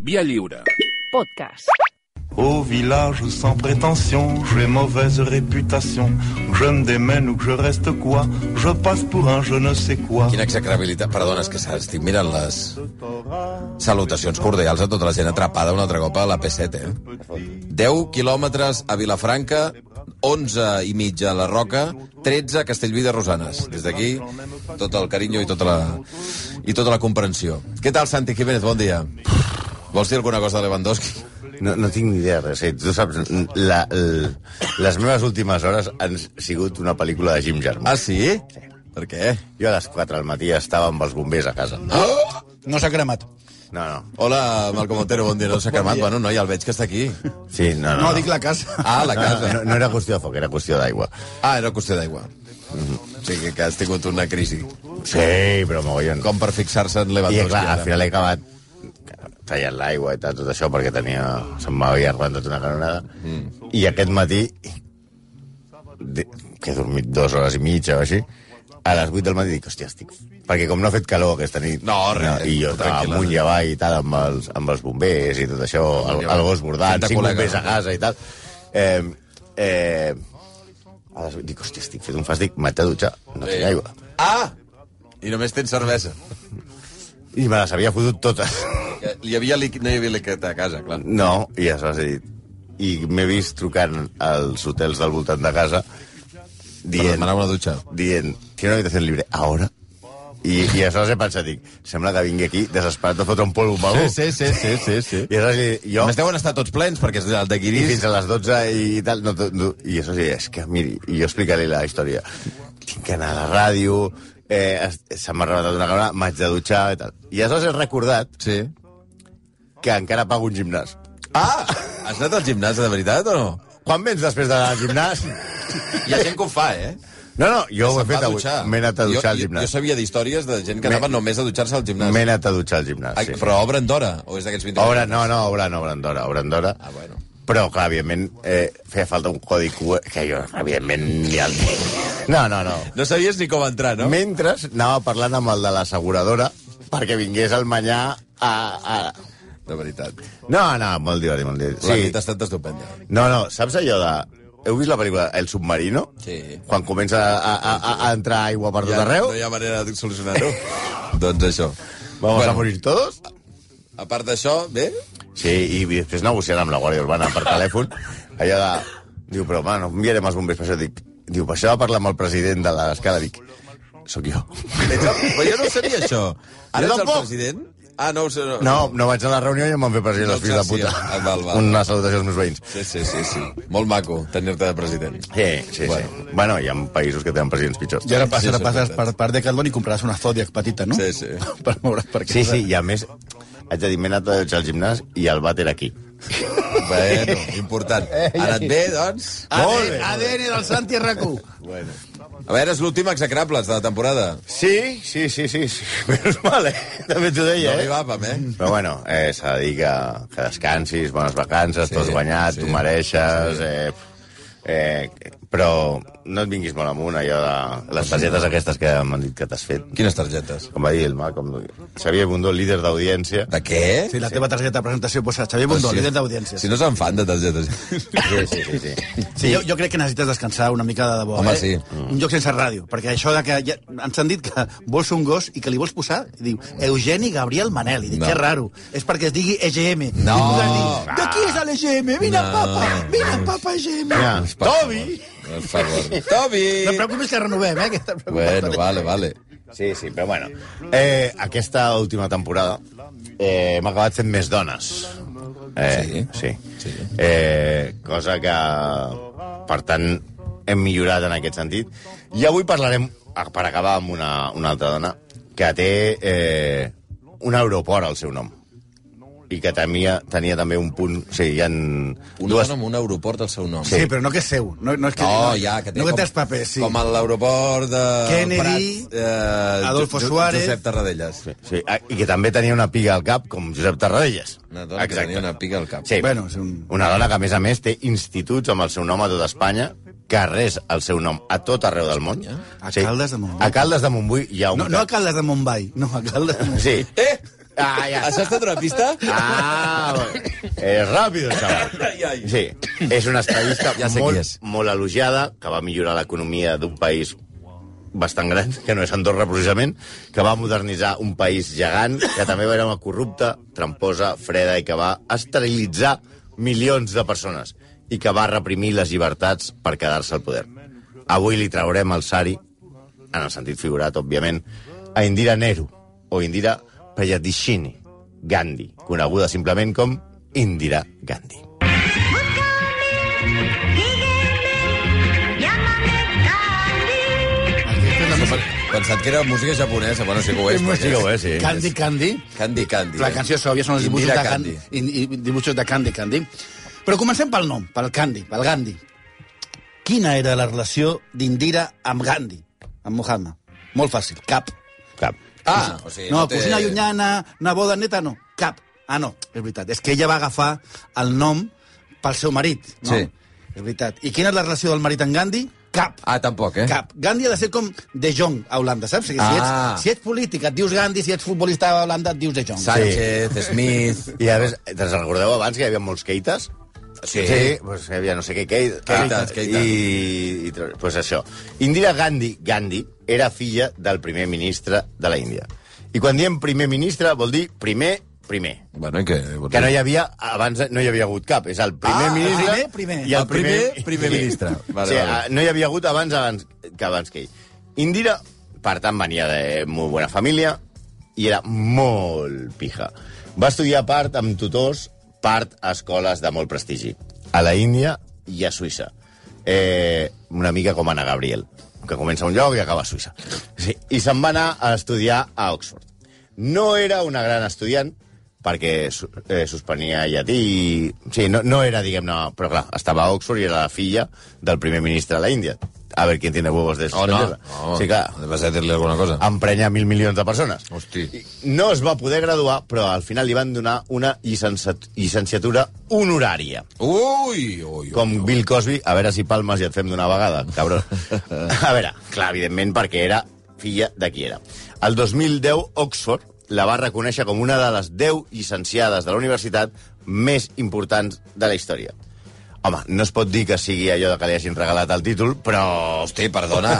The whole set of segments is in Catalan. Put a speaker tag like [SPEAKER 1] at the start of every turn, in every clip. [SPEAKER 1] Via lliure.
[SPEAKER 2] Podcast.
[SPEAKER 3] Au village sans prétention, j'ai mauvaise réputation. Que je me démène ou que je reste quoi, je passe pour un je ne sais quoi.
[SPEAKER 4] Quina execrabilitat. Perdona, és que estic mirant les salutacions cordials a tota la gent atrapada un altre cop a la P7, eh? 10 quilòmetres a Vilafranca, 11 i mitja a la Roca, 13 a Castellví de Rosanes. Des d'aquí, tot el carinyo i tota la, i tota la comprensió. Què tal, Santi Jiménez? Bon dia. Vols dir alguna cosa de Lewandowski?
[SPEAKER 5] No, no tinc ni idea de res. Eh, Tu saps, la, l- les meves últimes hores han sigut una pel·lícula de Jim Jarmusch.
[SPEAKER 4] Ah, sí? Per què?
[SPEAKER 5] Jo a les 4 del matí estava amb els bombers a casa. No,
[SPEAKER 6] No s'ha cremat.
[SPEAKER 5] no.
[SPEAKER 4] Hola, Malcom Otero, bon dia. No s'ha cremat? Bueno, no, ja el veig que està aquí.
[SPEAKER 5] Sí, no, no.
[SPEAKER 6] No, dic la casa.
[SPEAKER 4] Ah, la
[SPEAKER 5] No,
[SPEAKER 4] casa.
[SPEAKER 5] No, no era qüestió de foc, era qüestió d'aigua.
[SPEAKER 4] Ah, era qüestió d'aigua. Mhm. O sigui que, que has tingut una crisi.
[SPEAKER 5] Sí, però mogollon.
[SPEAKER 4] Com per fixar-se en
[SPEAKER 5] I
[SPEAKER 4] Lewandowski.
[SPEAKER 5] clar, al
[SPEAKER 4] ara.
[SPEAKER 5] final he acabat tallant l'aigua i tal, tot això, perquè tenia... Se'm m'havia arrendat una canonada. Mm. I aquest matí, de, que he dormit dues hores i mitja o així, a les 8 del matí dic, hòstia, estic... Perquè com no ha fet calor aquesta nit...
[SPEAKER 4] No, res,
[SPEAKER 5] I jo
[SPEAKER 4] tot eh?
[SPEAKER 5] estava
[SPEAKER 4] tranquil·la.
[SPEAKER 5] amunt i avall i tal, amb els, amb els bombers i tot això, el,
[SPEAKER 4] avall.
[SPEAKER 5] el gos bordant,
[SPEAKER 4] Fent de
[SPEAKER 5] cinc
[SPEAKER 4] col·lega.
[SPEAKER 5] bombers a casa i tal. Eh, eh, a les 8 dic, hòstia, estic fet un fàstic, m'haig de dutxar, no tinc aigua.
[SPEAKER 4] Ah! I només tens cervesa.
[SPEAKER 5] I me les havia fotut totes.
[SPEAKER 4] Que Hi havia líquid, no hi havia líquid a casa, clar.
[SPEAKER 5] No, i ja s'ha dit. I m'he vist trucant als hotels del voltant de casa
[SPEAKER 4] Per
[SPEAKER 5] dient,
[SPEAKER 4] demanar una dutxa.
[SPEAKER 5] dient tiene una habitació libre, ahora? I, i aleshores he pensat, dic, sembla que vingui aquí desesperat de fotre un polvo amb algú.
[SPEAKER 4] Sí, sí, sí, sí, sí, sí.
[SPEAKER 5] I aleshores
[SPEAKER 4] A
[SPEAKER 5] jo,
[SPEAKER 4] més, deuen estar tots plens, perquè és el de
[SPEAKER 5] i
[SPEAKER 4] Guirís.
[SPEAKER 5] fins a les 12 i tal, no, no, i això sí, és que, miri, i jo explicaré la història. Tinc que anar a la ràdio, eh, es- se m'ha arrebatat una cabra, m'haig de dutxar i tal. I aleshores he recordat
[SPEAKER 4] Sí.
[SPEAKER 5] que encara pago un gimnàs.
[SPEAKER 4] Ah! Has anat al gimnàs, de veritat, o no?
[SPEAKER 5] Quan vens després d'anar al gimnàs?
[SPEAKER 4] Hi ha gent que ho fa, eh?
[SPEAKER 5] No, no, jo ho he
[SPEAKER 4] Se'n va
[SPEAKER 5] fet
[SPEAKER 4] a
[SPEAKER 5] avui.
[SPEAKER 4] dutxar.
[SPEAKER 5] M'he anat a dutxar al
[SPEAKER 4] jo, Jo, jo
[SPEAKER 5] gimnàs.
[SPEAKER 4] sabia d'històries de gent que
[SPEAKER 5] Me-
[SPEAKER 4] anava només a dutxar-se al gimnàs.
[SPEAKER 5] M'he anat a dutxar al gimnàs,
[SPEAKER 4] Ah,
[SPEAKER 5] sí.
[SPEAKER 4] Però obren d'hora, o és d'aquests 20
[SPEAKER 5] Obren, no, no, obren, obren d'hora, obren d'hora.
[SPEAKER 4] Ah, bueno.
[SPEAKER 5] Però, clar, evidentment, eh, feia falta un codi QR, que jo, evidentment, ni el... No, no, no.
[SPEAKER 4] No sabies ni com entrar,
[SPEAKER 5] no?
[SPEAKER 4] no?
[SPEAKER 5] Mentre anava parlant amb el de l'asseguradora perquè vingués al manyà a... a...
[SPEAKER 4] De veritat.
[SPEAKER 5] No, no, molt divertit, molt divertit.
[SPEAKER 4] La nit ha estat estupenda.
[SPEAKER 5] No, no, saps allò de... Heu vist la pel·lícula El submarino?
[SPEAKER 4] Sí.
[SPEAKER 5] Quan comença a, a, a, a entrar aigua per tot
[SPEAKER 4] Ja,
[SPEAKER 5] arreu?
[SPEAKER 4] No hi ha manera de solucionar-ho. doncs això.
[SPEAKER 5] Vamos a morir todos?
[SPEAKER 4] a part d'això, bé?
[SPEAKER 5] Sí, i després negociant amb la Guàrdia Urbana per telèfon, allò de... Diu, però, home, no enviarem els bombers per això. Dic, diu, per això va parlar amb el president de l'escala. Dic, sóc jo.
[SPEAKER 4] Ets el... Però jo no ho sabia, això. Ara
[SPEAKER 5] Jo
[SPEAKER 4] ets el
[SPEAKER 5] tampoc.
[SPEAKER 4] president? Ah, no ho sé. No.
[SPEAKER 5] No, no vaig anar a la reunió i em van fer president
[SPEAKER 4] No,
[SPEAKER 5] els fills de
[SPEAKER 4] sí,
[SPEAKER 5] puta.
[SPEAKER 4] ah, val, val.
[SPEAKER 5] Una salutació als meus veïns.
[SPEAKER 4] Sí, sí, sí, sí. Molt maco tenir-te de president.
[SPEAKER 5] Sí, sí,
[SPEAKER 4] Bueno.
[SPEAKER 5] bueno. sí. Bueno, hi ha països que tenen presidents pitjors.
[SPEAKER 6] I ara passes,
[SPEAKER 4] Sí,
[SPEAKER 6] ara
[SPEAKER 4] sí,
[SPEAKER 6] passes
[SPEAKER 4] és
[SPEAKER 6] per,
[SPEAKER 4] veritat.
[SPEAKER 6] per Decathlon i compraràs una Zodiac petita, no?
[SPEAKER 4] Sí, sí.
[SPEAKER 6] per moure's per
[SPEAKER 5] Sí,
[SPEAKER 6] casa.
[SPEAKER 5] sí, i a més, haig de dir, m'he anat a dutxar al gimnàs i el vàter aquí.
[SPEAKER 4] Bueno, important. Ha anat bé, doncs?
[SPEAKER 5] Molt bé.
[SPEAKER 6] ADN del Santi RAC1.
[SPEAKER 4] A veure, és l'últim execrables de la temporada.
[SPEAKER 5] Sí, sí, sí, sí. sí. Menys mal, eh? També t'ho
[SPEAKER 4] No
[SPEAKER 5] deia,
[SPEAKER 4] li
[SPEAKER 5] eh?
[SPEAKER 4] va, Pam, eh?
[SPEAKER 5] Però bueno, eh, s'ha de dir que, que descansis, bones vacances,
[SPEAKER 4] Sí,
[SPEAKER 5] sí, t'ho has guanyat,
[SPEAKER 4] sí.
[SPEAKER 5] sí, t'ho mereixes... Eh, eh, però no et vinguis molt amunt allò de les targetes aquestes que m'han dit que t'has fet.
[SPEAKER 4] Quines targetes?
[SPEAKER 5] Com va dir el Malcolm, Xavier Bundó, líder d'audiència.
[SPEAKER 4] De què?
[SPEAKER 6] Sí, la teva targeta de presentació posa Xavier Bundó,
[SPEAKER 4] Sí.
[SPEAKER 6] líder d'audiència.
[SPEAKER 4] Si no se'n fan de targetes.
[SPEAKER 5] Sí, sí, sí. sí.
[SPEAKER 6] Sí, jo, jo crec que necessites descansar una mica de debò,
[SPEAKER 4] Home,
[SPEAKER 6] eh?
[SPEAKER 4] sí.
[SPEAKER 6] Un joc sense ràdio, perquè això de que ja, ens han dit que vols un gos i que li vols posar, i diu Eugeni Gabriel Manel, i dic,
[SPEAKER 4] No.
[SPEAKER 6] no. que raro, és perquè es digui EGM.
[SPEAKER 4] No.
[SPEAKER 6] I podràs dir, de qui és l'EGM? Mira,
[SPEAKER 4] No.
[SPEAKER 6] no. papa, mira, papa EGM.
[SPEAKER 5] Mira,
[SPEAKER 4] Tobi! Per favor. Tobi!
[SPEAKER 6] No et preocupis que renovem, eh? Aquesta
[SPEAKER 4] Bueno, vale, vale.
[SPEAKER 5] Sí, sí, però bueno. Eh, aquesta última temporada eh, hem acabat fent més dones. Eh, sí. sí.
[SPEAKER 4] Sí.
[SPEAKER 5] Eh, cosa que, per tant, hem millorat en aquest sentit. I avui parlarem, ah, per acabar, amb una, una altra dona que té eh, un aeroport al seu nom i que tenia, tenia també un punt... Sí, hi ha
[SPEAKER 4] Una
[SPEAKER 5] dues...
[SPEAKER 4] dona amb un aeroport al seu nom.
[SPEAKER 6] Sí, però no que és seu. No, no, és que,
[SPEAKER 4] No, ja, que té
[SPEAKER 6] no que
[SPEAKER 4] com,
[SPEAKER 6] té els papers, sí.
[SPEAKER 4] com a l'aeroport de
[SPEAKER 6] Kennedy,
[SPEAKER 4] Prat, eh,
[SPEAKER 6] Adolfo
[SPEAKER 4] Jo- Jo-
[SPEAKER 6] Suárez.
[SPEAKER 4] Josep Tarradellas.
[SPEAKER 5] Sí, ah, I que també tenia una piga al cap, com Josep Tarradellas.
[SPEAKER 4] Una dona que tenia una pica al cap.
[SPEAKER 5] Sí.
[SPEAKER 6] Bueno, és un...
[SPEAKER 5] Una dona que, a més a més, té instituts amb el seu nom a tot Espanya, carrers al seu nom a tot arreu del món.
[SPEAKER 6] A Caldes de Montbui.
[SPEAKER 5] A Caldes de Montbui hi ha un...
[SPEAKER 6] No, no a Caldes de Mumbai, no, a Caldes de Montbui.
[SPEAKER 5] Sí.
[SPEAKER 4] Eh!
[SPEAKER 5] Ah, ja.
[SPEAKER 4] Això ha estat una pista?
[SPEAKER 5] Ah, és ràpid, el xaval.
[SPEAKER 4] Ai, ai.
[SPEAKER 5] Sí, és una estadista
[SPEAKER 4] Ja sé qui
[SPEAKER 5] molt,
[SPEAKER 4] és.
[SPEAKER 5] molt elogiada, que va millorar l'economia d'un país bastant gran, que no és Andorra precisament, que va modernitzar un país gegant, que també va era una corrupta, tramposa, freda, i que va esterilitzar milions de persones, i que va reprimir les llibertats per quedar-se al poder. Avui li traurem el sari, en el sentit figurat, òbviament, a Indira Nehru, o Indira Prayadishini Gandhi, coneguda simplement com Indira Gandhi.
[SPEAKER 4] Pensat que era música japonesa, bueno, sí que ho és.
[SPEAKER 5] És música,
[SPEAKER 4] perquè
[SPEAKER 5] ho és, sí.
[SPEAKER 6] Candy, Candy.
[SPEAKER 4] Candy, Candy.
[SPEAKER 6] La
[SPEAKER 4] eh?
[SPEAKER 6] canció sòvia són els dibuixos
[SPEAKER 4] Indira
[SPEAKER 6] de, Candy. i- i- dibuixos de Candy Candy. Però comencem pel nom, pel Candy, pel Gandhi. Quina era la relació d'Indira amb Gandhi, amb Mohammed? Molt fàcil, cap.
[SPEAKER 5] Cap.
[SPEAKER 4] Ah, o sigui,
[SPEAKER 6] no,
[SPEAKER 4] no té-
[SPEAKER 6] cosina llunyana, una boda neta, no, cap. Ah, no, és veritat. És que ella va agafar el nom pel seu marit, no?
[SPEAKER 4] Sí.
[SPEAKER 6] És veritat. I quina és la relació del marit amb Gandhi? Cap.
[SPEAKER 4] Ah, tampoc, eh?
[SPEAKER 6] Cap. Gandhi ha de ser com De Jong a Holanda, saps? Si, si,
[SPEAKER 4] Ah.
[SPEAKER 6] ets, si ets polític et dius Gandhi, si ets futbolista a Holanda et dius De Jong.
[SPEAKER 4] Sánchez, Smith...
[SPEAKER 5] I a més, te'n recordeu abans que hi havia molts keites?
[SPEAKER 4] Sí.
[SPEAKER 5] sí pues hi havia no sé què, Kate,
[SPEAKER 4] Keitas, Keitas.
[SPEAKER 5] I, i tra- pues això. Indira Gandhi, Gandhi era filla del primer ministre de la Índia. I quan diem primer ministre vol dir primer, primer.
[SPEAKER 4] Bueno, i què?
[SPEAKER 5] Que no hi havia, abans no hi havia hagut cap. És el primer
[SPEAKER 6] Ah,
[SPEAKER 5] ministre...
[SPEAKER 6] el primer, primer.
[SPEAKER 5] I el,
[SPEAKER 4] El primer,
[SPEAKER 5] primer,
[SPEAKER 4] primer ministre. Vale,
[SPEAKER 5] Vale, sí,
[SPEAKER 4] vale.
[SPEAKER 5] vale. No hi havia hagut abans, abans que abans que ell. Indira, per tant, venia de molt bona família i era molt pija. Va estudiar part amb tutors, part a escoles de molt prestigi, a la Índia i a Suïssa. Eh, una mica com Ana Gabriel, que comença a un lloc i acaba a Suïssa. Sí. I se'n va anar a estudiar a Oxford. No era una gran estudiant, perquè su- eh, suspenia llatí... i- Sí, no, no era, diguem-ne... Però clar, estava a Oxford i era la filla del primer ministre de la Índia. A ver, ¿quién tiene huevos de
[SPEAKER 4] Oh, no.
[SPEAKER 5] suspenderla?
[SPEAKER 4] Oh,
[SPEAKER 5] Sí, clar,
[SPEAKER 4] Vas a dir-li alguna cosa?
[SPEAKER 5] emprenya mil milions de persones.
[SPEAKER 4] Hosti.
[SPEAKER 5] I No es va poder graduar, però al final li van donar una llicenciat- llicenciatura honorària.
[SPEAKER 4] Ui, ui, ui.
[SPEAKER 5] Com Bill Cosby, a veure si palmes i et fem d'una vegada, cabrón. A veure, clar, evidentment, perquè era filla de qui era. El 2010, Oxford la va reconèixer com una de les 10 llicenciades de la universitat més importants de la història. Home, no es pot dir que sigui allò de que li hagin regalat el títol, però...
[SPEAKER 4] Hosti, perdona.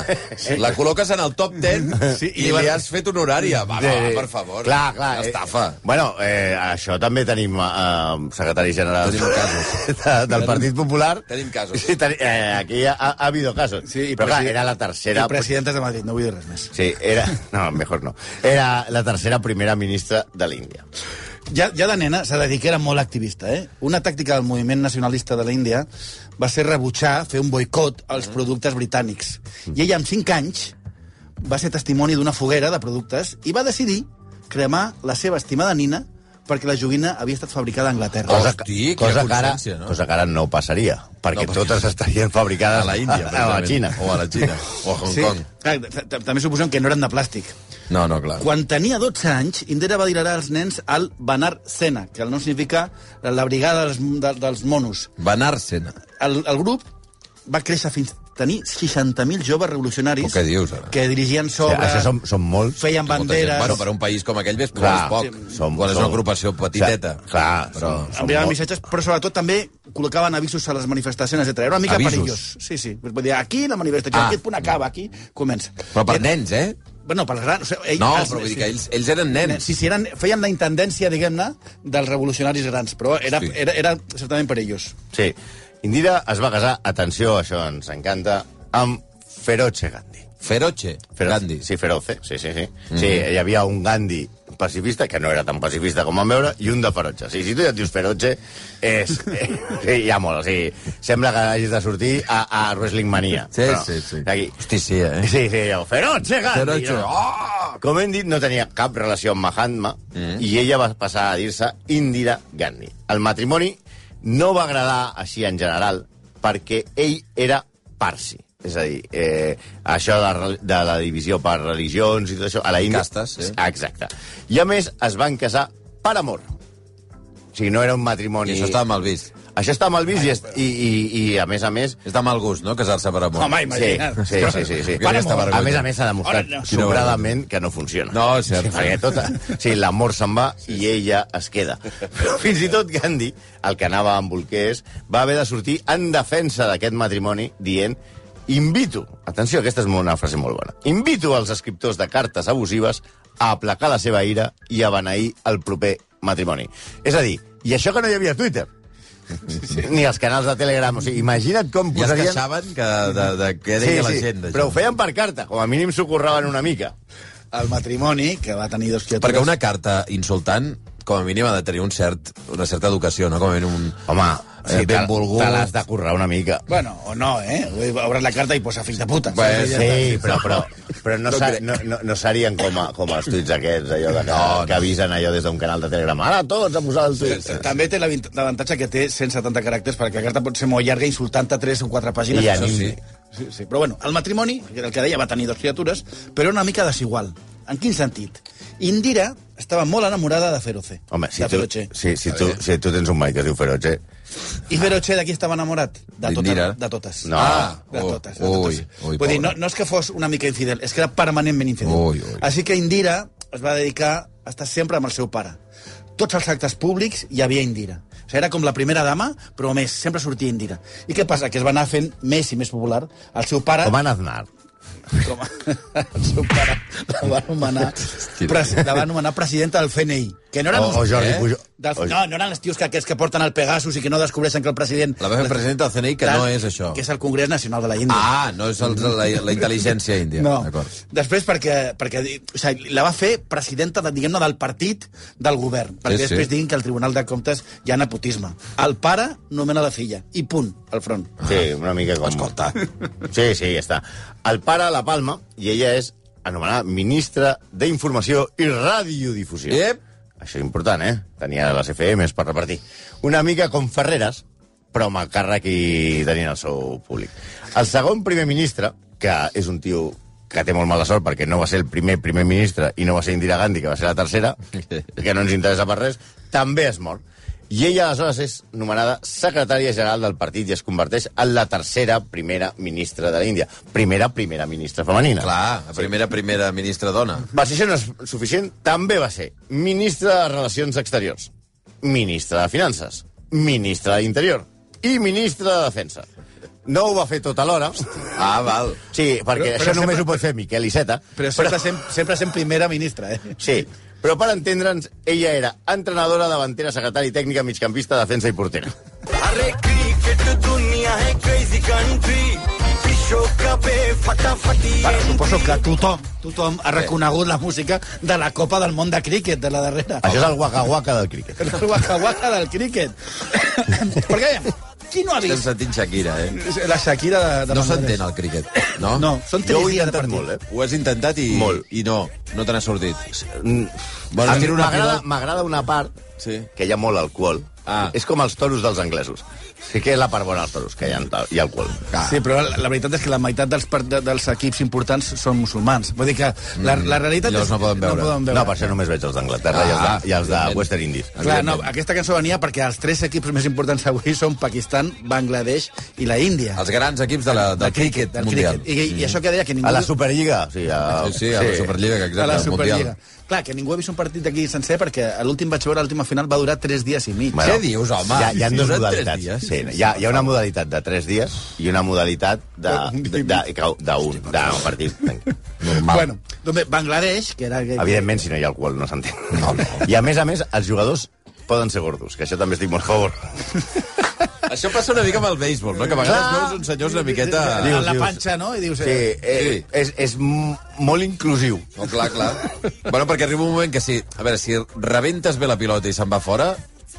[SPEAKER 4] La col·loques en el top 10
[SPEAKER 6] Sí,
[SPEAKER 4] i
[SPEAKER 6] i
[SPEAKER 4] li
[SPEAKER 6] va-
[SPEAKER 4] has fet honorària. Va, Ah, va, per favor.
[SPEAKER 5] Clar, clar.
[SPEAKER 4] Una
[SPEAKER 5] eh,
[SPEAKER 4] Estafa.
[SPEAKER 5] Bueno, eh, això també tenim eh, secretari general
[SPEAKER 4] Tenim casos.
[SPEAKER 5] de, del Partit Popular.
[SPEAKER 4] tenim casos.
[SPEAKER 5] Sí, ten, eh, aquí ha, ha, ha habido casos.
[SPEAKER 6] Sí, i
[SPEAKER 5] Però clar,
[SPEAKER 6] presi-
[SPEAKER 5] era la tercera...
[SPEAKER 6] I presidentes de Madrid, no vull dir res més.
[SPEAKER 5] Sí, era... No, mejor no. Era la tercera primera ministra de l'Índia.
[SPEAKER 6] Ja, ja de nena s'ha de dir que era molt activista, eh? Una tàctica del moviment nacionalista de la Índia va ser rebutjar, fer un boicot als
[SPEAKER 4] Mm.
[SPEAKER 6] productes britànics. I ella, amb 5 anys, va ser testimoni d'una foguera de productes i va decidir cremar la seva estimada nina perquè la joguina havia estat fabricada a Anglaterra.
[SPEAKER 4] Cosa- Hosti, quina
[SPEAKER 5] cosa que ara,
[SPEAKER 4] consciència, no?
[SPEAKER 5] cosa que ara no passaria, perquè,
[SPEAKER 4] perquè-
[SPEAKER 5] totes estarien fabricades
[SPEAKER 4] A la Índia,
[SPEAKER 5] a, la
[SPEAKER 4] precisament.
[SPEAKER 5] Xina.
[SPEAKER 4] O a la Xina. O a Hong
[SPEAKER 6] Sí,
[SPEAKER 4] Kong.
[SPEAKER 6] clar, t- t- també suposem que no eren de plàstic.
[SPEAKER 4] No, no, clar.
[SPEAKER 6] Quan tenia 12 anys, Indira va dir als nens al Banar Sena, que el nom significa la brigada dels, de, dels monos.
[SPEAKER 4] Banar-se'n.
[SPEAKER 6] El, el grup va créixer fins a tenir 60.000 joves revolucionaris
[SPEAKER 4] Però què dius, ara?
[SPEAKER 6] que dirigien
[SPEAKER 5] Sí,
[SPEAKER 6] sobre...
[SPEAKER 5] això són, són molts.
[SPEAKER 6] Feien banderes...
[SPEAKER 4] Bueno, per un país com aquell ves
[SPEAKER 5] Clar,
[SPEAKER 4] clar, poc.
[SPEAKER 5] sí.
[SPEAKER 4] Som, quan és una agrupació petiteta.
[SPEAKER 5] O sigui, clar, són, són
[SPEAKER 6] enviaven
[SPEAKER 5] molts.
[SPEAKER 6] missatges, però sobretot també col·locaven avisos a les manifestacions, etc. Era una mica
[SPEAKER 4] Avisos?
[SPEAKER 6] perillós. Sí, sí. Vull dir, aquí la manifestació,
[SPEAKER 4] Ah.
[SPEAKER 6] ah. aquí et punt acaba, aquí comença.
[SPEAKER 4] Però per nens, eh?
[SPEAKER 6] Bueno, per les grans... O sigui,
[SPEAKER 4] No,
[SPEAKER 6] els-
[SPEAKER 4] però vull dir
[SPEAKER 6] ah, sí.
[SPEAKER 4] que ells, ells eren nens.
[SPEAKER 6] Sí, sí, eren, feien la intendència, diguem-ne, dels revolucionaris grans, però era,
[SPEAKER 4] Hosti.
[SPEAKER 6] era, era certament perillós.
[SPEAKER 5] Sí. Indira es va casar, atenció, això ens encanta, amb Feroce Gandhi.
[SPEAKER 4] Feroche,
[SPEAKER 5] Feroce.
[SPEAKER 4] Gandhi.
[SPEAKER 5] Sí,
[SPEAKER 4] eh?
[SPEAKER 5] Feroce, sí, sí, sí.
[SPEAKER 4] Mm-hmm.
[SPEAKER 5] Mm -hmm. Sí, hi havia un Gandhi pacifista, que no era tan pacifista com vam veure, i un de Feroce. Sí, si tu ja et dius Feroce, és... eh, sí, ja molt, sí. Sembla que hagis de sortir a, a Wrestling Mania.
[SPEAKER 4] Sí, sí, sí.
[SPEAKER 5] Aquí.
[SPEAKER 4] Hosti, sí, eh?
[SPEAKER 5] Sí, sí, allò, Feroce Gandhi!
[SPEAKER 4] Feroce.
[SPEAKER 5] Oh! Com hem dit, no tenia cap relació amb Mahatma
[SPEAKER 4] Eh.
[SPEAKER 5] mm. i ella va passar a dir-se Indira Gandhi. El matrimoni no va agradar així en general perquè ell era parsi. És a dir, eh, això de, re- de la divisió per religions i tot això, a la Índia...
[SPEAKER 4] Castes, sí.
[SPEAKER 5] Exacte. I a més, es van casar per amor. O sigui, no era un matrimoni...
[SPEAKER 4] I això estava mal vist.
[SPEAKER 5] Això està mal vist i, est- i, i, i, a més a més...
[SPEAKER 4] És de mal gust, no?, casar-se per amor.
[SPEAKER 6] Home,
[SPEAKER 5] Sí,
[SPEAKER 6] imagina't.
[SPEAKER 5] sí, sí, sí, sí.
[SPEAKER 4] Que aquesta
[SPEAKER 5] A
[SPEAKER 4] vergonya.
[SPEAKER 5] més a més s'ha demostrat
[SPEAKER 6] Ara no.
[SPEAKER 5] sobradament que no funciona.
[SPEAKER 4] No, és cert.
[SPEAKER 5] Sí, perquè tot, sí, l'amor se'n va i ella es queda. Però fins i tot Gandhi, el que anava amb bolquers, va haver de sortir en defensa d'aquest matrimoni dient invito, atenció, aquesta és una frase molt bona, invito els escriptors de cartes abusives a aplacar la seva ira i a beneir el proper matrimoni. És a dir, i això que no hi havia Twitter, ni els canals de Telegram, o sigui, imagina't com
[SPEAKER 4] Ja es
[SPEAKER 5] posarien...
[SPEAKER 4] queixaven que, de, de, què deia la gent, d'això.
[SPEAKER 5] Però ho feien per carta, com a mínim s'ho curraven una mica.
[SPEAKER 6] El matrimoni, que va tenir dos criatures...
[SPEAKER 4] Perquè una carta insultant, com a mínim, ha de tenir un cert, una certa educació, no? Com a mínim un...
[SPEAKER 5] Home,
[SPEAKER 4] Eh,
[SPEAKER 5] si ben
[SPEAKER 4] benvolgut.
[SPEAKER 5] volgut... Te l'has de currar una mica.
[SPEAKER 6] Bueno, o no, eh? Obres la carta i posa fills de puta.
[SPEAKER 4] Bé,
[SPEAKER 5] Eh, Sí,
[SPEAKER 6] saps? Ja
[SPEAKER 5] sí,
[SPEAKER 6] està.
[SPEAKER 5] però, però, però no,
[SPEAKER 4] No
[SPEAKER 5] sa,
[SPEAKER 4] crec.
[SPEAKER 5] no, no, no serien com, a, com els tuits aquests, allò de, que,
[SPEAKER 4] No, no.
[SPEAKER 5] que avisen allò des d'un canal de Telegram. Ara tots a posar el tuit.
[SPEAKER 6] També té l'avint- l'avantatge que té 170 caràcters, perquè la carta pot ser molt llarga, insultant-te 3 o 4 pàgines.
[SPEAKER 5] I
[SPEAKER 4] Això
[SPEAKER 5] anim.
[SPEAKER 4] sí.
[SPEAKER 6] Sí, sí. Però bueno, el matrimoni, el que deia, va tenir dues criatures, però era una mica desigual. En quin sentit? Indira estava molt enamorada de Feroce.
[SPEAKER 5] Home, si
[SPEAKER 6] de
[SPEAKER 5] tu,
[SPEAKER 6] Feroce.
[SPEAKER 5] si, si, tu, si tu tens un mai que es diu Feroce...
[SPEAKER 6] I Feroce de qui estava enamorat? De totes.
[SPEAKER 4] D'Indira?
[SPEAKER 6] De totes.
[SPEAKER 5] No.
[SPEAKER 4] Ah,
[SPEAKER 6] De totes, de
[SPEAKER 4] ui,
[SPEAKER 6] totes.
[SPEAKER 4] ui,
[SPEAKER 6] Vull dir, no,
[SPEAKER 4] pobre.
[SPEAKER 6] no és que fos una mica infidel, és que era permanentment infidel.
[SPEAKER 4] Ui, ui.
[SPEAKER 6] Així que Indira es va dedicar a estar sempre amb el seu pare. Tots els actes públics hi havia Indira. O sigui, era com la primera dama, però més, sempre sortia Indira. I què passa? Que es va anar fent més i més popular. El seu pare...
[SPEAKER 5] Com en Aznar.
[SPEAKER 6] Com a... El seu pare la va nomenar, pres... la va nomenar presidenta del FNI. Que no eren,
[SPEAKER 5] O, o Jordi
[SPEAKER 4] eh?
[SPEAKER 5] Pujol.
[SPEAKER 6] del...
[SPEAKER 5] O-
[SPEAKER 6] no, no eren els tios que, aquests que porten el Pegasus i que no descobreixen que el president...
[SPEAKER 4] La va fer presidenta del CNI, que no és això.
[SPEAKER 6] Que és el Congrés Nacional de la Índia.
[SPEAKER 4] Ah, no és el, la, la intel·ligència índia.
[SPEAKER 6] No.
[SPEAKER 4] D'acord.
[SPEAKER 6] Després perquè, perquè o sigui, la va fer presidenta, de- diguem-ne, del partit del govern, perquè
[SPEAKER 4] sí.
[SPEAKER 6] sí, després diguin que al Tribunal de Comptes hi ha nepotisme. El pare nomena la filla, i punt, al front.
[SPEAKER 5] Sí, una mica com... Escolta. Sí, sí, ja està. El pare a la Palma, i ella és anomenada ministra d'Informació i Radiodifusió.
[SPEAKER 4] Ep.
[SPEAKER 5] Això és important, eh? Tenia les FMs per repartir. Una mica com Ferreras, però amb el càrrec i tenint el seu públic. El segon primer ministre, que és un tio que té molt mala sort perquè no va ser el primer primer ministre i no va ser Indira Gandhi, que va ser la tercera, que no ens interessa per res, també és mort. I ella aleshores és nomenada secretària general del partit i es converteix en la tercera primera ministra de l'Índia. Primera primera ministra femenina.
[SPEAKER 4] Clar, la primera, primera ministra dona.
[SPEAKER 5] Va ser això no és suficient, també va ser ministre de Relacions Exteriors, ministre de Finances, ministre d'Interior i ministre de Defensa. No ho va fer tot alhora.
[SPEAKER 4] Ah, val.
[SPEAKER 5] Sí, perquè
[SPEAKER 6] Però- però
[SPEAKER 5] això només
[SPEAKER 6] sempre-
[SPEAKER 5] ho pot fer Miquel Iceta.
[SPEAKER 6] Però sempre, però... Sempre, sempre sent primera ministra, eh?
[SPEAKER 5] Sí, però per entendre'ns, ella era entrenadora, davantera, secretària i tècnica, migcampista, defensa i portera.
[SPEAKER 1] अरे cricket दुनिया है crazy country विश्व cup है फटाफट ही
[SPEAKER 6] Bueno, suposo que tothom, tothom ha reconegut la música de la Copa del Món de Críquet, de la darrera.
[SPEAKER 5] Això és el guaca-guaca del críquet.
[SPEAKER 6] El guaca-guaca del críquet. Perquè, aviam, qui no ha
[SPEAKER 4] Estem
[SPEAKER 6] vist
[SPEAKER 4] sentint Shakira, eh?
[SPEAKER 6] la Shakira de, de
[SPEAKER 4] No
[SPEAKER 6] Bangladesh?
[SPEAKER 4] s'entén el críquet, no?
[SPEAKER 6] No, són
[SPEAKER 5] Jo
[SPEAKER 6] tres
[SPEAKER 5] ho he
[SPEAKER 6] dies de
[SPEAKER 5] intentat
[SPEAKER 6] partit.
[SPEAKER 5] molt, eh?
[SPEAKER 4] Ho has intentat i,
[SPEAKER 5] Molt.
[SPEAKER 4] i no, no te n'ha sortit.
[SPEAKER 5] Mm, Bueno,
[SPEAKER 4] Vols dir una
[SPEAKER 5] M'agrada
[SPEAKER 4] pilota?
[SPEAKER 5] m'agrada una part
[SPEAKER 4] Sí.
[SPEAKER 5] que hi ha molt alcohol.
[SPEAKER 4] Ah.
[SPEAKER 5] És com els toros dels anglesos. Sí que és la part bona dels toros, que hi ha, hi ha alcohol.
[SPEAKER 4] Ah.
[SPEAKER 6] Sí, però la, la veritat és que la meitat dels, part- de, dels equips importants són musulmans. Vull dir que la, la realitat
[SPEAKER 4] llavors
[SPEAKER 6] és...
[SPEAKER 4] no poden veure.
[SPEAKER 6] Mm. No poden veure.
[SPEAKER 5] No, per això només veig els d'Anglaterra i els
[SPEAKER 4] Ah,
[SPEAKER 5] de, i els de
[SPEAKER 4] evidentment.
[SPEAKER 5] Western Indies.
[SPEAKER 6] Clar, no,
[SPEAKER 4] Evidentment.
[SPEAKER 6] aquesta cançó venia perquè els tres equips més importants avui són Pakistan, Bangladesh i la Índia.
[SPEAKER 4] Els grans equips de la, del, críquet
[SPEAKER 6] del
[SPEAKER 4] mundial. Ah,
[SPEAKER 6] críquet. I, I això que deia que ningú...
[SPEAKER 5] A la Superliga. Sí, a,
[SPEAKER 4] Sí, sí, a la Superliga, que exacte,
[SPEAKER 6] a la
[SPEAKER 4] al Mundial.
[SPEAKER 6] Superliga. Clar, que ningú ha vist un partit d'aquí sencer perquè a l'últim vaig veure, l'última final va durar 3 dies i mig.
[SPEAKER 4] Què dius, home?
[SPEAKER 5] Hi ha, hi ha dues
[SPEAKER 4] Duren tres
[SPEAKER 5] modalitats.
[SPEAKER 4] dies.
[SPEAKER 5] Sí, hi, ha, hi ha una modalitat de 3 dies i una modalitat d'un de, de, de, d'un- d'un partit.
[SPEAKER 4] Normal.
[SPEAKER 6] Bueno, doncs bé, Bangladesh, que era...
[SPEAKER 5] Evidentment, si no hi ha alcohol, no s'entén. No, no. I a més a més, els jugadors poden ser gordos, que això també estic molt a favor.
[SPEAKER 4] Això passa una mica amb el béisbol, no? Que a vegades
[SPEAKER 5] Clar.
[SPEAKER 4] veus uns senyors una miqueta...
[SPEAKER 6] Dius,
[SPEAKER 5] Dius,
[SPEAKER 6] la
[SPEAKER 5] dius.
[SPEAKER 6] panxa, no? I dius...
[SPEAKER 5] Sí,
[SPEAKER 6] eh,
[SPEAKER 5] eh, és, és m- molt inclusiu.
[SPEAKER 4] No, clar, clar. bueno, perquè arriba un moment que si... A veure, si rebentes bé la pilota i se'n va fora...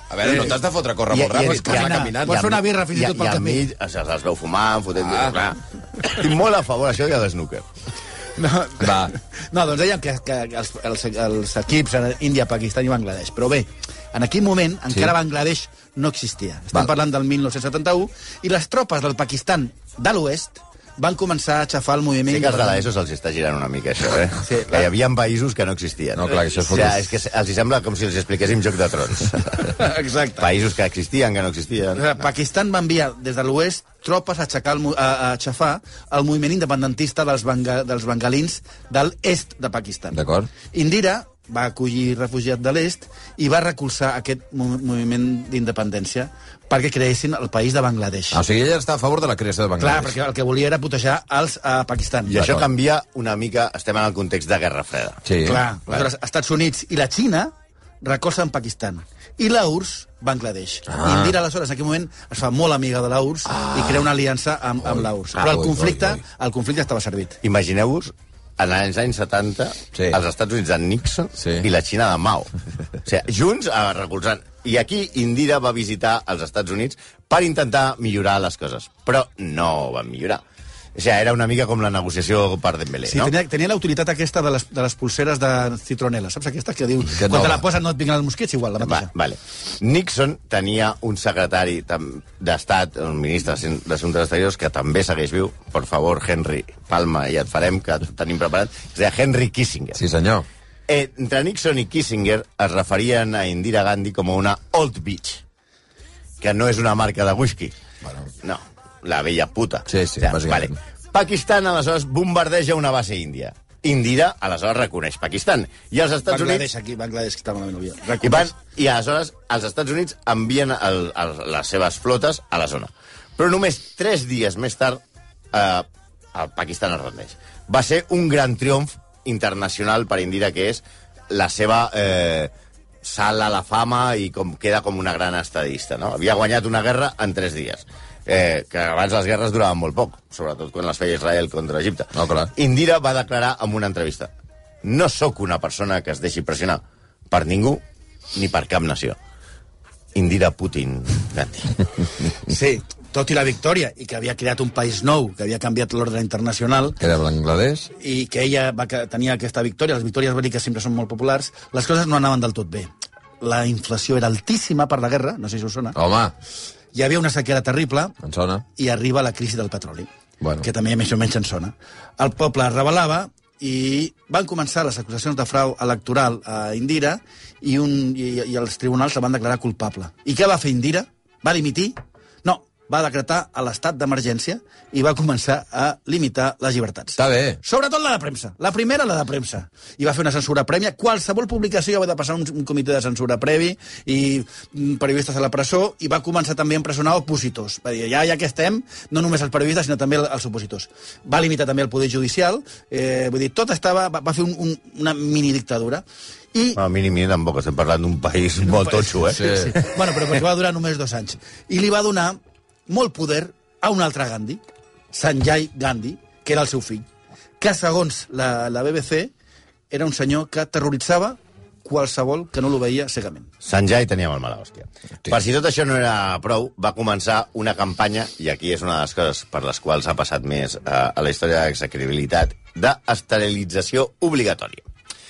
[SPEAKER 4] A veure, no t'has de fotre a córrer molt ràpid, que
[SPEAKER 6] caminar.
[SPEAKER 4] anar caminant.
[SPEAKER 6] Pots fer una
[SPEAKER 4] Ja,
[SPEAKER 6] birra fins i
[SPEAKER 5] i,
[SPEAKER 6] tot pel
[SPEAKER 5] i a
[SPEAKER 6] camí.
[SPEAKER 5] mi es, es veu fumant, fotent...
[SPEAKER 4] Ah.
[SPEAKER 5] Ah. Estic molt a favor, això, i a l'esnúquer.
[SPEAKER 6] No,
[SPEAKER 4] Va.
[SPEAKER 6] no doncs dèiem que, que els, els, els equips eren Índia, Pakistan i Bangladesh. Però bé, en aquell moment encara Bangladesh no existia. Estem
[SPEAKER 4] Val.
[SPEAKER 6] parlant del 1971 i les tropes del Pakistan de l'oest van començar a aixafar el moviment...
[SPEAKER 5] Sé que als de l'ESO se'ls està girant una mica, això, eh?
[SPEAKER 6] Sí,
[SPEAKER 5] Sí,
[SPEAKER 6] clar.
[SPEAKER 5] que hi havia països que no existien.
[SPEAKER 4] No, clar, que això és
[SPEAKER 5] o sigui,
[SPEAKER 4] fotut.
[SPEAKER 5] és que els hi sembla com si els expliquéssim Joc de Trons.
[SPEAKER 6] Exacte.
[SPEAKER 5] països que existien, que no existien.
[SPEAKER 6] O sigui, Pakistan va enviar des de l'oest tropes a, aixecar el, mo- a, a aixafar el moviment independentista dels, banga, dels bengalins de l'est de Pakistan.
[SPEAKER 4] D'acord.
[SPEAKER 6] Indira va acollir refugiat de l'est i va recolzar aquest mo- moviment d'independència perquè creessin el país de Bangladesh.
[SPEAKER 4] Ah, o sigui, ella està a favor de la creació de
[SPEAKER 6] Clar,
[SPEAKER 4] Bangladesh.
[SPEAKER 6] perquè el que volia era putejar els a Pakistan.
[SPEAKER 5] I això
[SPEAKER 4] D'acord.
[SPEAKER 5] canvia una mica... Estem en el context de Guerra Freda.
[SPEAKER 4] Sí.
[SPEAKER 6] Clar, aleshores, Estats Units i la Xina recolzen Pakistan. I la URSS, Bangladesh. Ah.
[SPEAKER 4] Ah.
[SPEAKER 6] Indira, aleshores, en aquell moment es fa molt amiga de la URSS ah. i crea una aliança amb, amb la URSS. Però
[SPEAKER 4] Ui,
[SPEAKER 6] el
[SPEAKER 4] ui,
[SPEAKER 6] conflicte,
[SPEAKER 4] ui.
[SPEAKER 6] el conflicte estava servit.
[SPEAKER 5] Imagineu-vos en els anys 70,
[SPEAKER 4] Sí.
[SPEAKER 5] sí. els Estats Units de Nixon
[SPEAKER 4] Sí.
[SPEAKER 5] sí. i la Xina de Mao. O sigui, junts, eh, recolzant. I aquí Indira va visitar els Estats Units per intentar millorar les coses. Però no van millorar. O sigui, era una mica com la negociació per Dembélé,
[SPEAKER 6] Sí,
[SPEAKER 5] no?
[SPEAKER 6] no? tenia, tenia la utilitat aquesta de les, de les pulseres de citronela, saps aquesta que diu...
[SPEAKER 4] Que
[SPEAKER 6] Que
[SPEAKER 4] no
[SPEAKER 6] quan te
[SPEAKER 4] va.
[SPEAKER 6] la posen no et vinguin els mosquits, igual, la
[SPEAKER 5] Va,
[SPEAKER 6] mateixa.
[SPEAKER 5] vale. Nixon tenia un secretari tam- d'Estat, un ministre d'Assumptes Exteriors, que també segueix viu. Per favor, Henry, palma, i ja et farem, que et tenim preparat. És a dir, Henry Kissinger.
[SPEAKER 4] Sí, senyor.
[SPEAKER 5] Eh, Entre Nixon i Kissinger es referien a Indira Gandhi com a una Old Beach, que no és una marca de whisky. Bueno. No, la vella puta.
[SPEAKER 4] Sí, sí, bàsicament.
[SPEAKER 5] Pakistan, aleshores, bombardeja una base índia. Indira, aleshores, reconeix Pakistan. I els Estats Units...
[SPEAKER 6] Bangladesh, aquí, Bangladesh, que està malament, òbvia.
[SPEAKER 5] I, van, I aleshores els Estats Units envien el, el, les seves flotes a la zona. Però només tres dies més tard eh, el Pakistan es rendeix. Va ser un gran triomf internacional per Indira, que és la seva eh, sal a la fama i com queda com una gran estadista. No? Havia guanyat una guerra en tres dies. Eh, que abans les guerres duraven molt poc, sobretot quan les feia Israel contra Egipte.
[SPEAKER 4] No, clar.
[SPEAKER 5] Indira va declarar en una entrevista no sóc una persona que es deixi pressionar per ningú ni per cap nació. Indira Putin Gandhi.
[SPEAKER 6] Sí, tot i la victòria, i que havia creat un país nou, que havia canviat l'ordre internacional,
[SPEAKER 4] Que era Bangladesh.
[SPEAKER 6] i que ella va que tenia aquesta victòria, les victòries bèl·liques sempre són molt populars, les coses no anaven del tot bé. La inflació era altíssima per la guerra, no sé si us sona.
[SPEAKER 4] Home,
[SPEAKER 6] Hi havia una sequera terrible
[SPEAKER 4] em sona.
[SPEAKER 6] i arriba la crisi del petroli,
[SPEAKER 4] Bueno.
[SPEAKER 6] que també més o menys en sona. El poble es rebel·lava i van començar les acusacions de frau electoral a Indira i, un, i, i els tribunals la van declarar culpable. I què va fer Indira? Va dimitir? No, va decretar a l'estat d'emergència i va començar a limitar les llibertats.
[SPEAKER 4] Està bé.
[SPEAKER 6] Sobretot la de premsa. La primera, la de premsa. I va fer una censura prèvia. Qualsevol publicació va de passar un, un comitè de censura previ i mm, periodistes a la presó i va començar també a empresonar opositors. Va dir, ja, ja que estem, no només els periodistes, sinó també els opositors. Va limitar també el poder judicial. Eh, vull dir, tot estava... Va, va fer un, un, una minidictadura. I
[SPEAKER 5] No, mínim, mínim, tampoc. Estem parlant d'un país molt totxo, eh?
[SPEAKER 4] Sí.
[SPEAKER 6] bueno, però perquè va durar només dos anys. I li va donar molt poder a un altre Gandhi, Sanjay Gandhi, que era el seu fill, que segons la, la BBC era un senyor que terroritzava qualsevol que no l'obeïa cegament.
[SPEAKER 5] Sanjay tenia molt mala hòstia.
[SPEAKER 4] Sí.
[SPEAKER 5] Per si tot això no era prou, va començar una campanya, i aquí és una de les coses per les quals ha passat més eh, a la història de l'execrabilitat, d'esterilització obligatòria.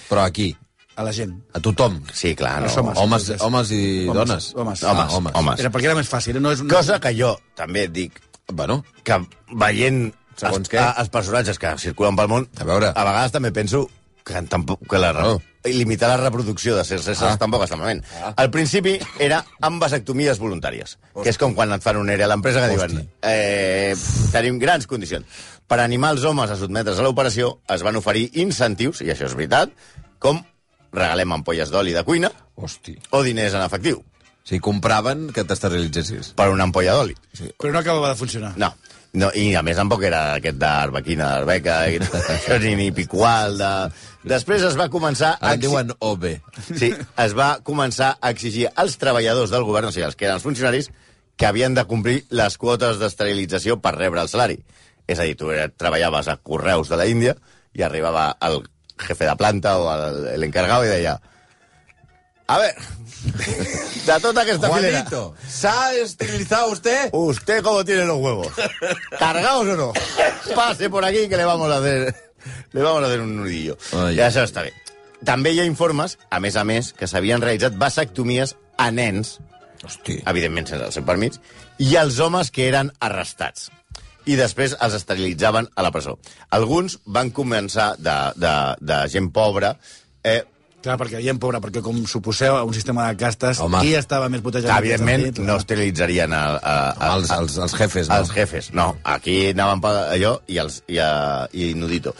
[SPEAKER 4] Però aquí,
[SPEAKER 6] A la gent.
[SPEAKER 4] a tothom.
[SPEAKER 5] Sí, clar, no.
[SPEAKER 6] Els homes.
[SPEAKER 4] Homes, homes i
[SPEAKER 6] Homes,
[SPEAKER 4] dones.
[SPEAKER 6] homes.
[SPEAKER 4] Ah,
[SPEAKER 5] Homes,
[SPEAKER 4] homes.
[SPEAKER 5] homes.
[SPEAKER 6] Era perquè era més fàcil. No és un...
[SPEAKER 5] Cosa que jo també et dic,
[SPEAKER 4] Bueno,
[SPEAKER 5] que veient
[SPEAKER 4] Segons
[SPEAKER 5] els,
[SPEAKER 4] què?
[SPEAKER 5] a, els personatges que circulen pel món,
[SPEAKER 4] A veure.
[SPEAKER 5] a vegades també penso que tampoc que la
[SPEAKER 4] Oh.
[SPEAKER 5] oh. limitar la reproducció de certs éssers
[SPEAKER 4] Ah.
[SPEAKER 5] ah. tampoc està malament. Ah. Al principi era amb vasectomies voluntàries, que és com quan et fan un ERE a l'empresa que
[SPEAKER 4] Hosti.
[SPEAKER 5] diuen eh, tenim grans condicions. Per animar els homes a sotmetre's a l'operació es van oferir incentius, i això és veritat, com regalem ampolles d'oli de cuina
[SPEAKER 4] hosti.
[SPEAKER 5] o diners en efectiu
[SPEAKER 4] Si compraven que t'esterilitzessis.
[SPEAKER 5] per una ampolla d'oli.
[SPEAKER 6] Però no acabava de funcionar.
[SPEAKER 5] No. No, i a més tampoc era aquest d'Arbequina, d'Arbeca, i tot això, ni, ni Piqual, de... Després es va començar...
[SPEAKER 4] Ara en
[SPEAKER 5] exi-
[SPEAKER 4] diuen OB.
[SPEAKER 5] Sí, es va començar a exigir als treballadors del govern, o sigui, els que eren els funcionaris, que havien de complir les quotes d'esterilització per rebre el salari. És a dir, tu eh, treballaves a Correus de la Índia i arribava el jefe de planta o el- l'encargado i deia... A ver, de tota aquesta filera...
[SPEAKER 4] Juanito, ¿s'ha esterilizado usted?
[SPEAKER 5] ¿Usted cómo tiene los huevos? ¿Cargados o no? Pase por aquí que le vamos a hacer, le vamos a hacer un nudillo.
[SPEAKER 4] Ai.
[SPEAKER 5] Ja això està bé. També hi ha informes, a més a més, que s'havien realitzat vasectomies a nens,
[SPEAKER 4] Hosti.
[SPEAKER 5] evidentment sense el seu permís, i als homes que eren arrestats. i després els esterilitzaven a la presó. Alguns van començar de, de, de gent pobra, eh,
[SPEAKER 6] Clar, perquè hi ha pobra, perquè com suposeu, a un sistema de castes,
[SPEAKER 4] Home.
[SPEAKER 6] qui estava més
[SPEAKER 5] que,
[SPEAKER 6] putejat?
[SPEAKER 5] evidentment, no esterilitzarien a, a, a,
[SPEAKER 4] Home, els, els, els jefes, no?
[SPEAKER 5] Els jefes, no. Aquí anaven per allò i, els, i, a, i Nudito.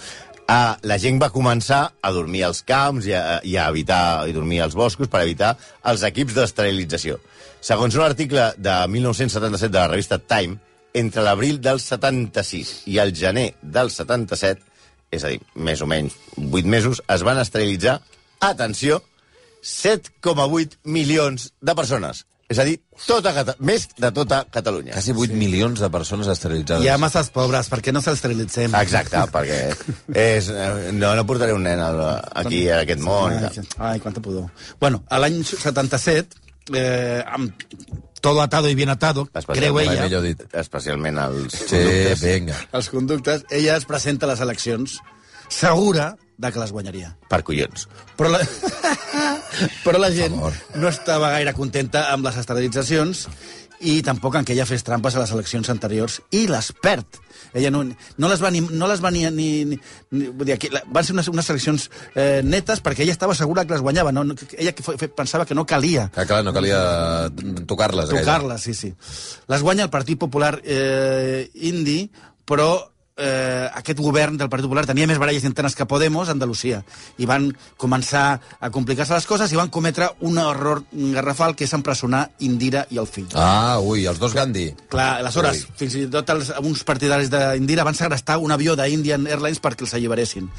[SPEAKER 5] Ah, la gent va començar a dormir als camps i a, i a evitar i dormir als boscos per evitar els equips d'esterilització. Segons un article de 1977 de la revista Time, entre l'abril del 76 i el gener del 77, és a dir, més o menys 8 mesos, es van esterilitzar, atenció, 7,8 milions de persones. És a dir, tota, Cata- més de tota Catalunya.
[SPEAKER 4] Quasi 8 sí. milions de persones esterilitzades.
[SPEAKER 6] Hi ha masses pobres, per què no s'esterilitzem?
[SPEAKER 5] Exacte, perquè és, eh, no, no portaré un nen al, aquí, a aquest món.
[SPEAKER 6] Ai, que- ai, quanta pudor. Bueno, a l'any 77, eh, amb todo atado y bien atado, creu
[SPEAKER 5] Especialment-
[SPEAKER 4] mai
[SPEAKER 6] ella,
[SPEAKER 4] millor dit.
[SPEAKER 5] Especialment els
[SPEAKER 4] Sí, vinga.
[SPEAKER 6] els conductes, ella es presenta a les eleccions segura de que les guanyaria.
[SPEAKER 5] Per collons.
[SPEAKER 6] Però la, però la gent
[SPEAKER 4] favor.
[SPEAKER 6] no estava gaire contenta amb les esterilitzacions i tampoc en que ella fes trampes a les eleccions anteriors i les perd. Ella no, no les va ni... No les va ni, ni, ni, ni vull dir, aquí, la, van ser unes, unes eleccions eh, netes perquè ella estava segura que les guanyava. No, no, que- ella que fe, fe, pensava que no calia
[SPEAKER 4] Ah, clar, no calia tocar-les. gaire.
[SPEAKER 6] tocar-les, sí, sí. Les guanya el Partit Popular eh, indi, però eh, aquest govern del Partit Popular tenia més baralles internes que Podemos a Andalusia i van començar a complicar-se les coses i van cometre un error garrafal que és empresonar Indira i el fill.
[SPEAKER 4] Ah, ui, els dos Gandhi.
[SPEAKER 6] Clar, aleshores,
[SPEAKER 4] Ui.
[SPEAKER 6] fins i tot els, uns partidaris d'Indira van segrestar un avió d'Indian Airlines perquè els alliberessin.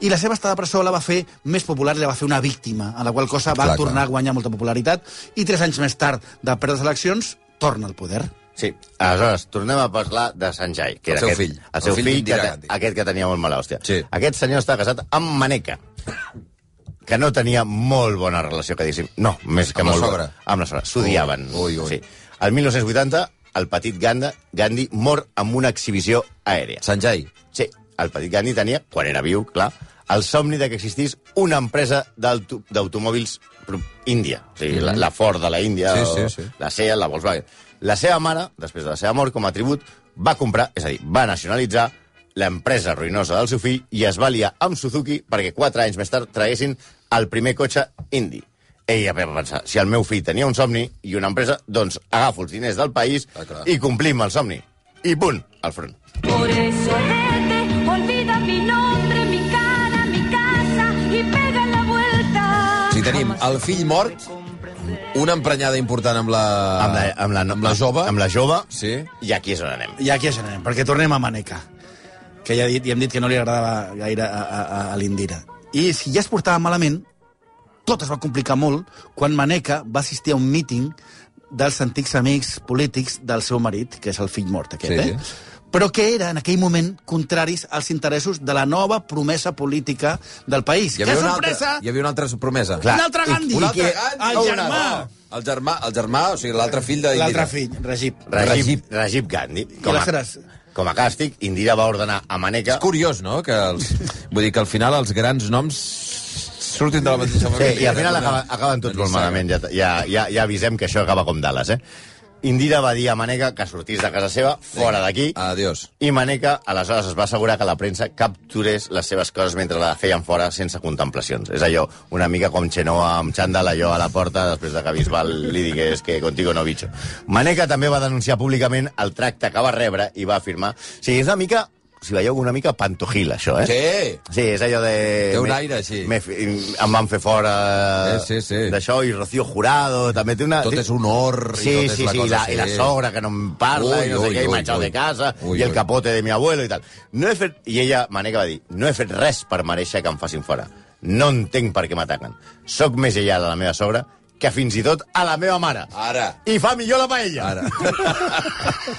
[SPEAKER 6] I la seva estada a presó la va fer més popular, la va fer una víctima, a la qual cosa va
[SPEAKER 4] Clar, clar.
[SPEAKER 6] tornar a guanyar molta popularitat, i tres anys més tard de perdre les eleccions, torna al poder.
[SPEAKER 5] Sí. Aleshores, tornem a parlar de Sanjay,
[SPEAKER 4] El
[SPEAKER 5] que era
[SPEAKER 4] seu
[SPEAKER 5] aquest,
[SPEAKER 4] fill.
[SPEAKER 5] El seu
[SPEAKER 4] El fill
[SPEAKER 5] fill,
[SPEAKER 4] d'Indira
[SPEAKER 5] que,
[SPEAKER 4] Gandhi.
[SPEAKER 5] te- aquest que tenia molt mala hòstia.
[SPEAKER 4] Sí.
[SPEAKER 5] Aquest senyor està casat amb Maneca, que no tenia molt bona relació, que diguéssim. No, més que
[SPEAKER 4] Amb la
[SPEAKER 5] molt
[SPEAKER 4] sogra.
[SPEAKER 5] Bona. Amb la sogra. S'odiaven.
[SPEAKER 4] Ui, ui, ui.
[SPEAKER 5] Sí. El 1980, el petit Gandhi, Gandhi mor amb una exhibició aèria.
[SPEAKER 4] Sanjay.
[SPEAKER 5] Sí, el petit Gandhi tenia, quan era viu, clar, el somni de que existís una empresa d'auto- d'automòbils pro- índia. O sigui, la, la Ford de la Índia,
[SPEAKER 4] Mm-hmm. Sí,
[SPEAKER 5] o
[SPEAKER 4] sí, sí.
[SPEAKER 5] la SEA, la Volkswagen. La seva mare, després de la seva mort, com a tribut, va comprar, és a dir, va nacionalitzar l'empresa ruïnosa del seu fill i es va liar amb Suzuki perquè quatre anys més tard traguessin el primer cotxe indi. Ella va pensar, si el meu fill tenia un somni i una empresa, doncs agafo els diners del país
[SPEAKER 4] Ah, clar.
[SPEAKER 5] i complim el somni. I punt, al front.
[SPEAKER 2] Por eso vete, olvida mi nombre, mi cara, mi casa y pega la vuelta.
[SPEAKER 4] O sigui, tenim el fill mort, una emprenyada important amb la...
[SPEAKER 5] amb la, amb la,
[SPEAKER 4] amb la jove.
[SPEAKER 5] Amb la jove.
[SPEAKER 4] Sí.
[SPEAKER 5] I aquí és on anem.
[SPEAKER 6] I aquí ja anem, perquè tornem a Maneca, que ja, he dit, ja hem dit que no li agradava gaire a, a, a, a l'Indira. I si ja es portava malament, tot es va complicar molt quan Maneca va assistir a un míting dels antics amics polítics del seu marit, que és el fill mort aquest,
[SPEAKER 4] Sí.
[SPEAKER 6] eh? Però que era, en aquell moment, contraris als interessos de la nova promesa política del país. Que
[SPEAKER 4] una
[SPEAKER 6] sorpresa!
[SPEAKER 4] altra, hi havia una altra promesa.
[SPEAKER 6] Un altre Gandhi!
[SPEAKER 4] Un altre
[SPEAKER 6] Que-
[SPEAKER 4] Gandhi!
[SPEAKER 6] El
[SPEAKER 4] Oh, una-
[SPEAKER 6] germà!
[SPEAKER 4] El germà, el germà, o sigui, l'altre fill de...
[SPEAKER 6] L'altre fill, Regip.
[SPEAKER 5] Rajib,
[SPEAKER 4] Rajib.
[SPEAKER 5] Rajib Gandhi.
[SPEAKER 6] aleshores?
[SPEAKER 5] com a càstig, Indira va ordenar a Maneca...
[SPEAKER 4] És curiós, no?, que els... Vull dir que al final els grans noms surtin de la mateixa
[SPEAKER 5] Sí,
[SPEAKER 4] família.
[SPEAKER 5] I al final acaba, acaben tots
[SPEAKER 4] Una
[SPEAKER 5] molt
[SPEAKER 4] nissaga.
[SPEAKER 5] malament. Ja, ja, ja, ja avisem que això acaba com Dallas, eh? Indira va dir a Maneca que sortís de casa seva, fora d'aquí,
[SPEAKER 4] Adiós.
[SPEAKER 5] i Maneca aleshores es va assegurar que la premsa capturés les seves coses mentre la feien fora sense contemplacions. És allò, una mica com Chenoa amb Xandall, allò a la porta, després de que Bisbal li digués que contigo no bicho. Maneca també va denunciar públicament el tracte que va rebre i va afirmar... O sigui, és una mica, si veieu, una mica pantojil, això, eh?
[SPEAKER 4] Sí!
[SPEAKER 5] Sí, és allò de...
[SPEAKER 4] Té un
[SPEAKER 5] me-
[SPEAKER 4] aire així.
[SPEAKER 5] Me, em van fer fora
[SPEAKER 4] Sí, sí, sí.
[SPEAKER 5] d'això, i Rocío Jurado també té una...
[SPEAKER 4] Tot
[SPEAKER 5] té-
[SPEAKER 4] és honor i
[SPEAKER 5] Sí,
[SPEAKER 4] tot és
[SPEAKER 5] sí,
[SPEAKER 4] la
[SPEAKER 5] sí,
[SPEAKER 4] cosa,
[SPEAKER 5] i la,
[SPEAKER 4] sí.
[SPEAKER 5] i la sogra que no em parla,
[SPEAKER 4] Ui,
[SPEAKER 5] i no sé
[SPEAKER 4] ui,
[SPEAKER 5] què, i
[SPEAKER 4] ui,
[SPEAKER 5] m'ha echado
[SPEAKER 4] ui.
[SPEAKER 5] de casa,
[SPEAKER 4] Ui,
[SPEAKER 5] i el
[SPEAKER 4] ui.
[SPEAKER 5] capote de mi abuelo i tal. No he fet... I ella, Maneca, va dir, no he fet res per mereixer que em facin fora. No entenc per què m'ataquen. Soc més lleial a la meva sogra que fins i tot a la meva mare.
[SPEAKER 4] Ara.
[SPEAKER 5] I fa millor la paella.
[SPEAKER 4] Ara.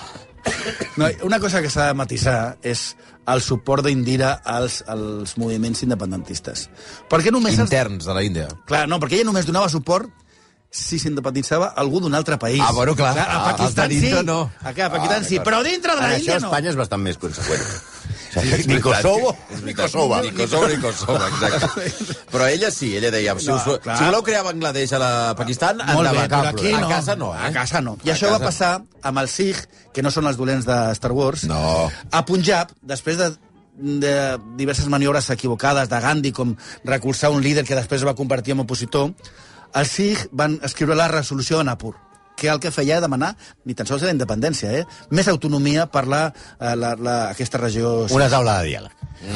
[SPEAKER 6] No, una cosa que s'ha de matisar és el suport d'Indira als, als moviments independentistes. Perquè només... els-
[SPEAKER 4] Interns de la Índia.
[SPEAKER 6] Clar, no, perquè ella només donava suport si s'independitzava algú d'un altre país.
[SPEAKER 4] Ah, bueno, clar.
[SPEAKER 6] clar a
[SPEAKER 4] Ah, els
[SPEAKER 6] Pakistan
[SPEAKER 4] de dintre
[SPEAKER 6] sí.
[SPEAKER 4] no.
[SPEAKER 6] Aquí, a Pakistan
[SPEAKER 4] Ah,
[SPEAKER 6] sí,
[SPEAKER 4] d'acord.
[SPEAKER 6] però dintre de
[SPEAKER 5] En
[SPEAKER 6] la
[SPEAKER 5] això
[SPEAKER 6] Índia no.
[SPEAKER 5] Espanya és bastant més conseqüent. Ni Kosovo, ni Kosovo.
[SPEAKER 4] Ni Kosovo, ni Kosovo, exacte. Però ella sí, ella deia, si, us,
[SPEAKER 6] clar.
[SPEAKER 4] si voleu crear Bangladesh a la Pakistan,
[SPEAKER 6] Molt bé,
[SPEAKER 4] endavant.
[SPEAKER 6] però aquí
[SPEAKER 4] a
[SPEAKER 6] no.
[SPEAKER 4] casa no, eh?
[SPEAKER 6] A casa no. I
[SPEAKER 4] A
[SPEAKER 6] això
[SPEAKER 4] casa.
[SPEAKER 6] va passar amb els Sikh, que no són els dolents de Star Wars,
[SPEAKER 4] No.
[SPEAKER 6] a Punjab, després de de diverses maniobres equivocades de Gandhi, com recolzar un líder que després es va convertir en opositor, els Sikh van escriure la resolució de Napur, que el que feia era demanar ni tan sols la independència, eh? més autonomia per la, eh, la, la, aquesta regió
[SPEAKER 5] Una taula de diàleg.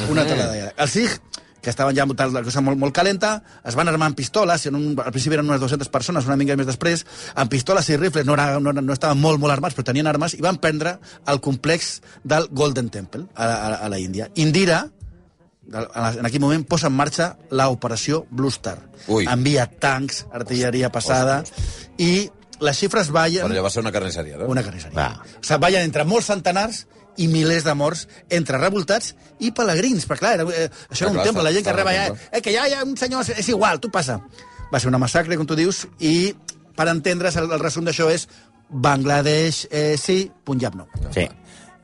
[SPEAKER 6] una tela de diàleg. Els SIG, Eh. que estaven ja muntant la cosa molt, molt calenta, es van armar amb pistoles, en un, al principi eren unes 200 persones, una mica més després, amb pistoles i rifles, no, era, no, era- no estaven molt, molt armats, però tenien armes, i van prendre el complex del Golden Temple a, la- a, la- a la Índia. Indira, del- a la- en aquell moment, posa en marxa l'operació Blue Star.
[SPEAKER 4] Ui.
[SPEAKER 6] Envia tancs, artilleria passada, i les xifres ballen...
[SPEAKER 4] Però allò va ser una carnisseria, no?
[SPEAKER 6] Una carnisseria.
[SPEAKER 5] Va.
[SPEAKER 6] O sigui, ballen entre molts centenars i milers de morts entre revoltats i pelegrins, perquè clar, era, eh,
[SPEAKER 4] Ah,
[SPEAKER 6] això era un
[SPEAKER 4] clar,
[SPEAKER 6] temple,
[SPEAKER 4] està-
[SPEAKER 6] la gent que
[SPEAKER 4] està
[SPEAKER 6] reba
[SPEAKER 4] en el
[SPEAKER 6] ja, eh, que ja hi ha un senyor, és igual, tu passa. Va ser una massacre, com tu dius, i per entendre's el, el resum d'això és Bangladesh eh, sí, Punjab no.
[SPEAKER 5] Sí.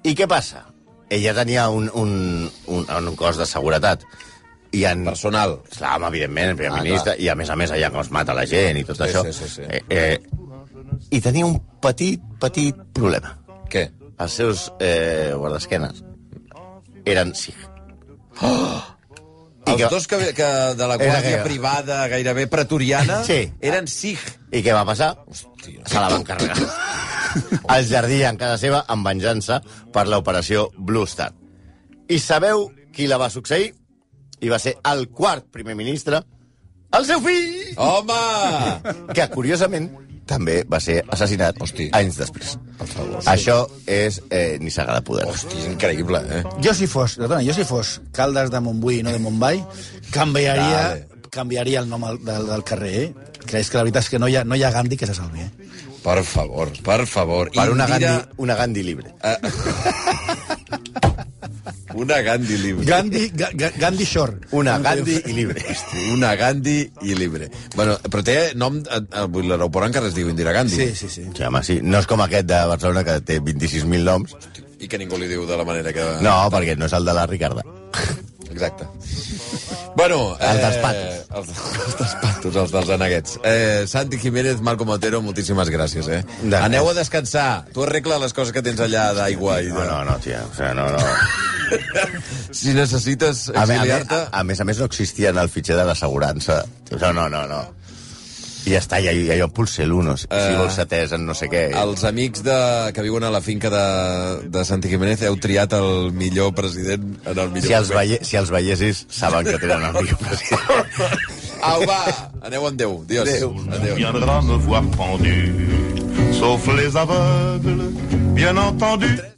[SPEAKER 5] I què passa? Ella tenia un, un, un, un cos de seguretat. I en...
[SPEAKER 4] Personal.
[SPEAKER 5] Clar, home, evidentment, el primer
[SPEAKER 4] Ah,
[SPEAKER 5] ah, ministre, i a més a més allà com es mata la gent i tot
[SPEAKER 4] Sí,
[SPEAKER 5] això.
[SPEAKER 4] sí, sí, sí.
[SPEAKER 5] Eh, eh, I tenia un petit, petit problema.
[SPEAKER 4] Què?
[SPEAKER 5] Els seus eh, guardesquenes eren sí. I,
[SPEAKER 4] Els
[SPEAKER 5] què,
[SPEAKER 4] dos que, que de la guàrdia
[SPEAKER 5] gairebé.
[SPEAKER 4] privada gairebé pretoriana
[SPEAKER 5] Sí.
[SPEAKER 4] eren sikh.
[SPEAKER 5] I què va passar?
[SPEAKER 4] Hòstia.
[SPEAKER 5] Se la van carregar. El jardí en casa seva en venjança per l'operació Blue Star. I sabeu qui la va succeir? I va ser el quart primer ministre, el seu fill,
[SPEAKER 4] Home!
[SPEAKER 5] que curiosament també va ser assassinat
[SPEAKER 4] Hosti.
[SPEAKER 5] anys després. Això és eh, nissaga de poder.
[SPEAKER 4] Hòstia, és increïble, eh?
[SPEAKER 6] Jo si fos, perdona, jo si fos Caldes de Montbui, no de Montbai, canviaria,
[SPEAKER 4] Dale.
[SPEAKER 6] canviaria el nom al- del, del carrer, eh? Creus que la veritat és que no hi ha, no hi ha Gandhi que se salvi, eh?
[SPEAKER 4] Per favor, per favor.
[SPEAKER 5] Per una
[SPEAKER 4] Indira-
[SPEAKER 5] Gandhi, una Gandhi libre.
[SPEAKER 4] Ah, Una Gandhi libre.
[SPEAKER 6] Gandhi, Ga- Ga- Gandhi Shore.
[SPEAKER 5] Una Gandhi i libre.
[SPEAKER 4] Una Gandhi i libre. Bueno, però té nom... eh, eh, vull dir, L'aeroport encara es diu Indira Gandhi.
[SPEAKER 6] Sí, sí, sí.
[SPEAKER 5] Sí, home, sí. No és com aquest de Barcelona que té 26.000 noms.
[SPEAKER 4] I que ningú li diu de la manera que...
[SPEAKER 5] No, perquè no és el de la Ricarda.
[SPEAKER 4] Exacte. Bueno, eh,
[SPEAKER 5] Els dels patos.
[SPEAKER 4] Els, els dels patos, els dels aneguets. Eh, Santi Jiménez, Malcom Otero, moltíssimes gràcies, eh?
[SPEAKER 5] De res.
[SPEAKER 4] Aneu a descansar. Tu arregla les coses que tens allà d'aigua. i
[SPEAKER 5] No,
[SPEAKER 4] de...
[SPEAKER 5] no, no, tia. O sigui, no, no.
[SPEAKER 4] Si necessites
[SPEAKER 5] A, me- a, me-
[SPEAKER 4] exiliar-te...
[SPEAKER 5] a, a més a més no existia en el fitxer de l'assegurança. No, no, no, no. I ja està, ja, ja jo pulse l'1, no, sé, si
[SPEAKER 4] Eh,
[SPEAKER 5] vols atès en no sé què. El...
[SPEAKER 4] Els amics de, que viuen a la finca de, de Santi Jiménez heu triat el millor president en el millor
[SPEAKER 5] Si els,
[SPEAKER 4] moment.
[SPEAKER 5] veie, si els veiessis, saben que tenen el millor president.
[SPEAKER 4] Au, va, aneu amb Déu. Adiós.
[SPEAKER 5] Adéu.
[SPEAKER 4] Adéu.
[SPEAKER 3] viendra me voir pendu, sauf les aveugles, bien entendu.